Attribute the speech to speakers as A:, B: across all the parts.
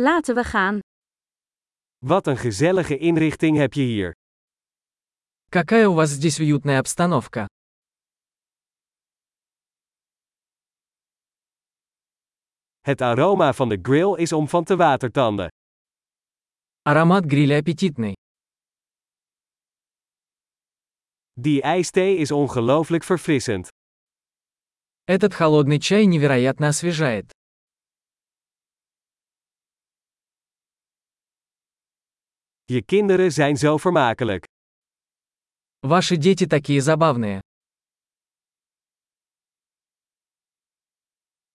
A: Laten we gaan.
B: Wat een gezellige inrichting heb je hier.
C: Какая у вас здесь уютная обстановка.
B: Het aroma van de grill is om van te watertanden.
C: Аромат гриля аппетитный.
B: Die ijsthee is ongelooflijk verfrissend.
C: Этот холодный чай невероятно освежает.
B: Je kinderen zijn zo vermakelijk.
C: Ваши дети такие забавные.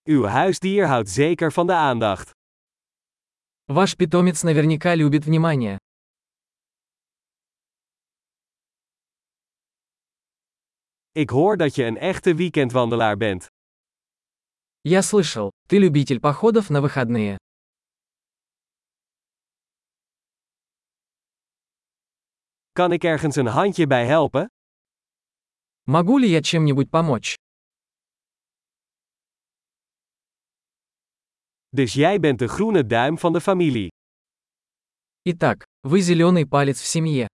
B: Uw huisdier houdt zeker van de aandacht.
C: Ваш питомец наверняка любит внимание.
B: Ik hoor dat je een echte weekendwandelaar bent.
C: Я слышал, ты любитель походов на выходные.
B: Kan ik ergens een handje bij helpen?
C: Могу ли я чем-нибудь помочь?
B: Dus jij bent de groene duim van de familie.
C: Итак, вы зеленый палец в семье.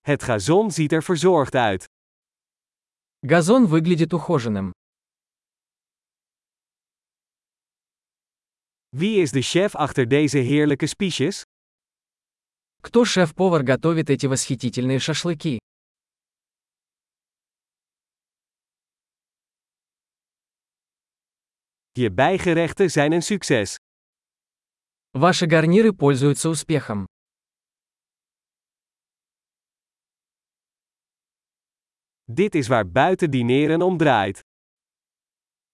B: Het gazon ziet er verzorgd uit.
C: Газон выглядит ухоженным.
B: Wie is de chef achter deze heerlijke spiesjes?
C: Кто шеф-повар готовит эти восхитительные шашлыки?
B: Je bijgerechten zijn een succes.
C: Ваши гарниры пользуются успехом.
B: Dit is waar buiten dineren om draait.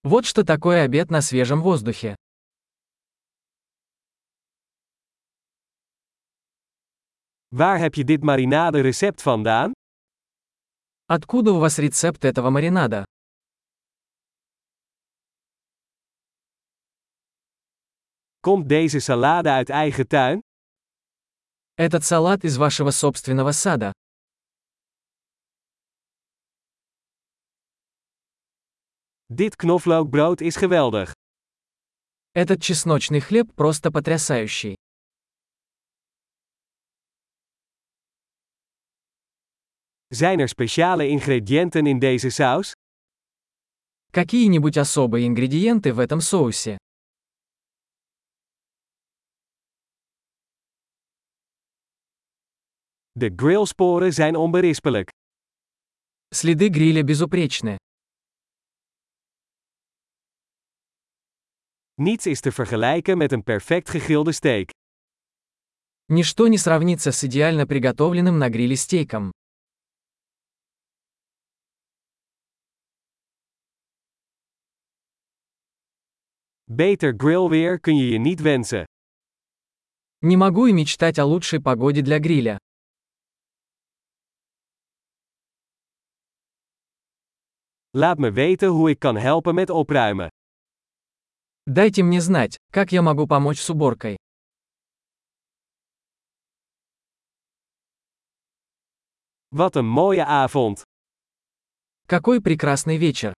C: Вот что такое обед на свежем воздухе.
B: Waar heb je dit marinade recept vandaan?
C: Откуда у вас рецепт этого маринада?
B: Komt deze salade uit eigen tuin?
C: Этот салат из вашего собственного сада.
B: Dit knoflookbrood is geweldig.
C: Этот чесночный хлеб просто потрясающий.
B: Zijn er speciale ingrediënten in deze saus?
C: Какие-нибудь особые ингредиенты в этом соусе?
B: De grillsporen zijn onberispelijk.
C: Следы гриля безупречны.
B: Niets is te vergelijken met een perfect gegrilde steak.
C: Ничто не сравнится с идеально приготовленным на гриле стейком.
B: Beter grillweer kun je je niet wensen.
C: Не могу и мечтать о лучшей погоде для гриля.
B: Laat me weten hoe ik kan helpen met opruimen.
C: Дайте мне знать, как я могу помочь с уборкой.
B: Wat een mooie avond!
C: Какой прекрасный вечер!